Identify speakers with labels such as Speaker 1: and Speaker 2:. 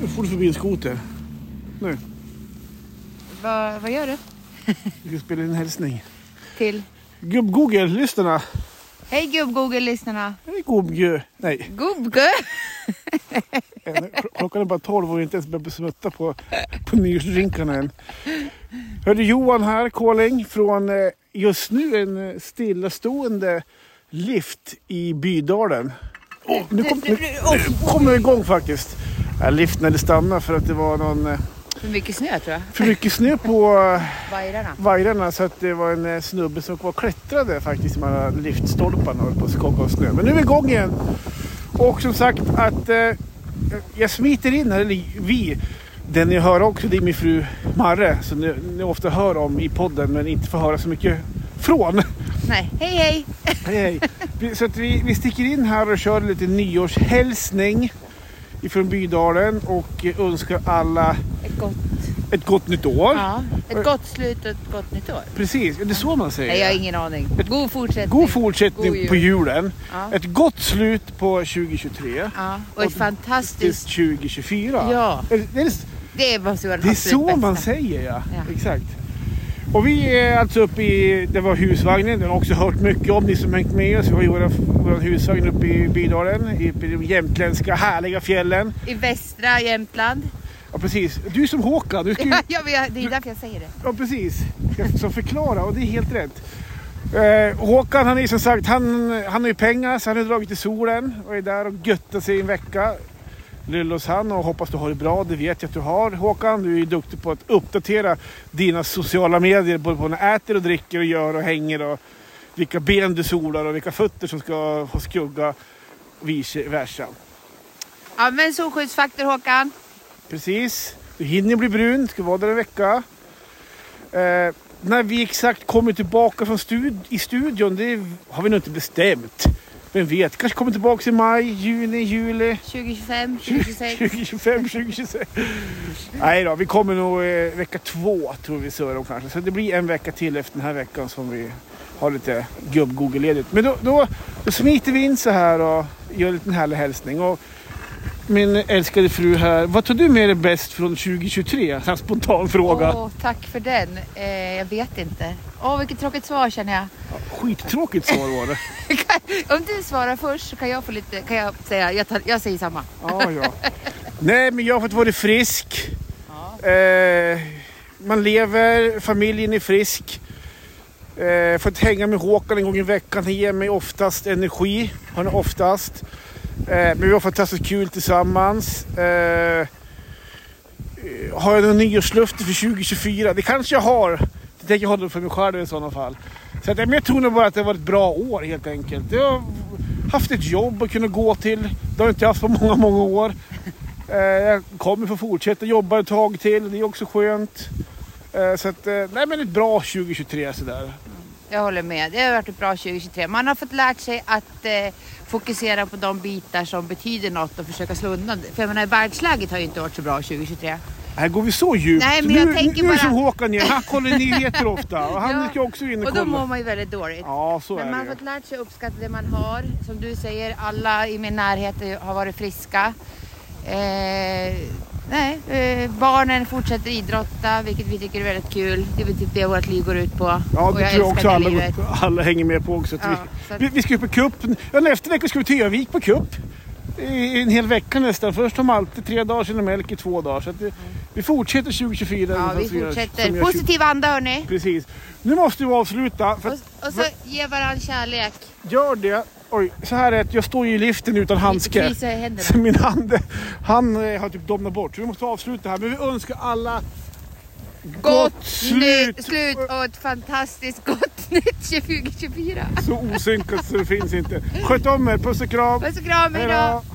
Speaker 1: Nu får du förbi en skoter. Nu.
Speaker 2: Va, vad gör du?
Speaker 1: Vi ska spela in en hälsning.
Speaker 2: Till?
Speaker 1: Gubb-Google, lyssnarna.
Speaker 2: Hej gubb-Google-lyssnarna!
Speaker 1: Hej gubb Nej,
Speaker 2: Gubb-Gu!
Speaker 1: än. klockan är bara tolv och vi har inte ens börjat smutta på, på nyårsdrinkarna än. Hörde Johan här, Kåling, från eh, just nu en eh, stillastående lift i Bydalen. Åh, nu, kom, nu, nu kom den igång faktiskt. Ja, liften hade stannat för att det var någon, eh,
Speaker 2: För mycket snö tror jag.
Speaker 1: för mycket snö på eh,
Speaker 2: Vajrarna.
Speaker 1: vajrarna så att det var en eh, snubbe som var och klättrade faktiskt i de här liftstolparna och höll på att skaka av snö. Men nu är vi igång igen. Och som sagt att eh, jag smiter in här, eller vi. Den ni hör också det är min fru Marre som ni, ni ofta hör om i podden men inte får höra så mycket från.
Speaker 2: Nej, hej hej!
Speaker 1: Hej, hej. Vi- Så att vi, vi sticker in här och kör lite nyårshälsning ifrån Bydalen och eh, önskar alla
Speaker 2: Ett gott,
Speaker 1: ett gott nytt år.
Speaker 2: ja, ett gott slut och ett gott nytt år.
Speaker 1: Precis, är det så man säger?
Speaker 2: Nej, jag har ingen aning. God fortsättning.
Speaker 1: God fortsättning
Speaker 2: God jul.
Speaker 1: på julen.
Speaker 2: Ja.
Speaker 1: Ett gott slut på 2023.
Speaker 2: Ja, och ett
Speaker 1: Till
Speaker 2: fantastiskt...
Speaker 1: 2024.
Speaker 2: Ja.
Speaker 1: Är det- det, är,
Speaker 2: Det måste vara
Speaker 1: det
Speaker 2: det
Speaker 1: är
Speaker 2: absolut
Speaker 1: så
Speaker 2: bästa.
Speaker 1: man säger ja.
Speaker 2: Ja.
Speaker 1: Exakt. Och vi är alltså uppe i, det var husvagnen, den har också hört mycket om, ni som hängt med oss. Vi har ju våra, vår husvagn uppe i Bydalen, uppe i de jämtländska härliga fjällen.
Speaker 2: I västra Jämtland.
Speaker 1: Ja precis, du som Håkan, du ska ju
Speaker 2: Ja, men jag, det är därför jag säger det.
Speaker 1: Ja, precis. Jag ska förklara och det är helt rätt. Eh, Håkan han är som sagt, han, han har ju pengar så han har dragit till solen och är där och göttar sig i en vecka. Lullos han och hoppas du har det bra, det vet jag att du har. Håkan, du är ju duktig på att uppdatera dina sociala medier både på när du äter och dricker och gör och hänger och vilka ben du solar och vilka fötter som ska ha skugga och vice versa.
Speaker 2: Använd solskyddsfaktor Håkan.
Speaker 1: Precis. Du hinner bli brun, ska vara där en vecka. Eh, när vi exakt kommer tillbaka från stud i studion, det har vi nog inte bestämt. Vem vet, kanske kommer tillbaka i maj, juni, juli,
Speaker 2: 2025, 2026.
Speaker 1: 2025, 2026. Nej då, vi kommer nog eh, vecka två tror vi surrar om kanske. Så det blir en vecka till efter den här veckan som vi har lite gubb-Google-ledigt. Men då, då, då smiter vi in så här och gör en liten härlig hälsning. Och min älskade fru här, vad tar du med dig bäst från 2023? En spontan fråga.
Speaker 2: Åh, tack för den. Eh, jag vet inte. Åh, vilket tråkigt svar känner jag.
Speaker 1: Skittråkigt svar var det.
Speaker 2: Om du svarar först så kan jag få lite, kan jag säga, jag, tar, jag säger samma.
Speaker 1: Ja, ja. Nej, men jag har fått vara frisk.
Speaker 2: Ja.
Speaker 1: Eh, man lever, familjen är frisk. Eh, fått hänga med Håkan en gång i veckan. Han ger mig oftast energi. Han är oftast. Eh, men vi har fantastiskt kul tillsammans. Eh, eh, har jag några nyårslöfte för 2024? Det kanske jag har. Det tänker jag hålla för mig själv i sådana fall. Så att, eh, men jag tror nog bara att det har varit ett bra år helt enkelt. Jag har haft ett jobb att kunna gå till. Det har jag inte haft på många, många år. Eh, Jag kommer få fortsätta jobba ett tag till. Det är också skönt. Eh, Så att, eh, nej men ett bra 2023 sådär.
Speaker 2: Jag håller med. Det har varit ett bra 2023. Man har fått lärt sig att eh, fokusera på de bitar som betyder något och försöka slå undan det. För jag menar, världsläget har ju inte varit så bra 2023.
Speaker 1: Här går vi så djupt.
Speaker 2: Nej, men
Speaker 1: nu
Speaker 2: jag tänker
Speaker 1: nu är det
Speaker 2: bara-
Speaker 1: som Håkan igen. Han kollar nyheter ofta. Och han
Speaker 2: Ja.
Speaker 1: ska också in och,
Speaker 2: Och då mår
Speaker 1: kolla.
Speaker 2: man ju väldigt dåligt.
Speaker 1: Ja, så
Speaker 2: Men man
Speaker 1: är
Speaker 2: har
Speaker 1: det ju.
Speaker 2: fått lärt sig att uppskatta det man har. Som du säger, alla i min närhet är- har varit friska. Eh, nej, eh, barnen fortsätter idrotta, vilket vi tycker är väldigt kul. Det är väl typ det vårt liv går ut på.
Speaker 1: Ja,
Speaker 2: och
Speaker 1: det
Speaker 2: jag
Speaker 1: tror jag
Speaker 2: älskar
Speaker 1: också
Speaker 2: det
Speaker 1: alla,
Speaker 2: livet.
Speaker 1: alla hänger med på också. Att
Speaker 2: Ja, så
Speaker 1: vi,
Speaker 2: att-
Speaker 1: vi, vi ska ju på cup. Ja, nästa vecka ska vi till Övik på cup. I en hel vecka nästan. Först har Malte tre dagar, sen har Melker två dagar. Så att det, vi fortsätter 2024.
Speaker 2: Ja, vi
Speaker 1: som gör- Alltså, som
Speaker 2: fortsätter.
Speaker 1: gör-
Speaker 2: Positiv anda hörni.
Speaker 1: Precis. Nu måste vi avsluta. För att-
Speaker 2: Och, och så ge varandra kärlek.
Speaker 1: Gör det. Oj, så här är det. Jag står ju i liften utan handske.
Speaker 2: Visa händerna.
Speaker 1: Så min hand han eh, har typ domnat bort. Så vi måste avsluta här. Men vi önskar alla
Speaker 2: Gott slut. slut och ett fantastiskt gott nytt 2024.
Speaker 1: Så osynkat så det finns inte. Sköt om er. Puss och kram.
Speaker 2: Puss och kram, hejdå!
Speaker 1: Hejdå.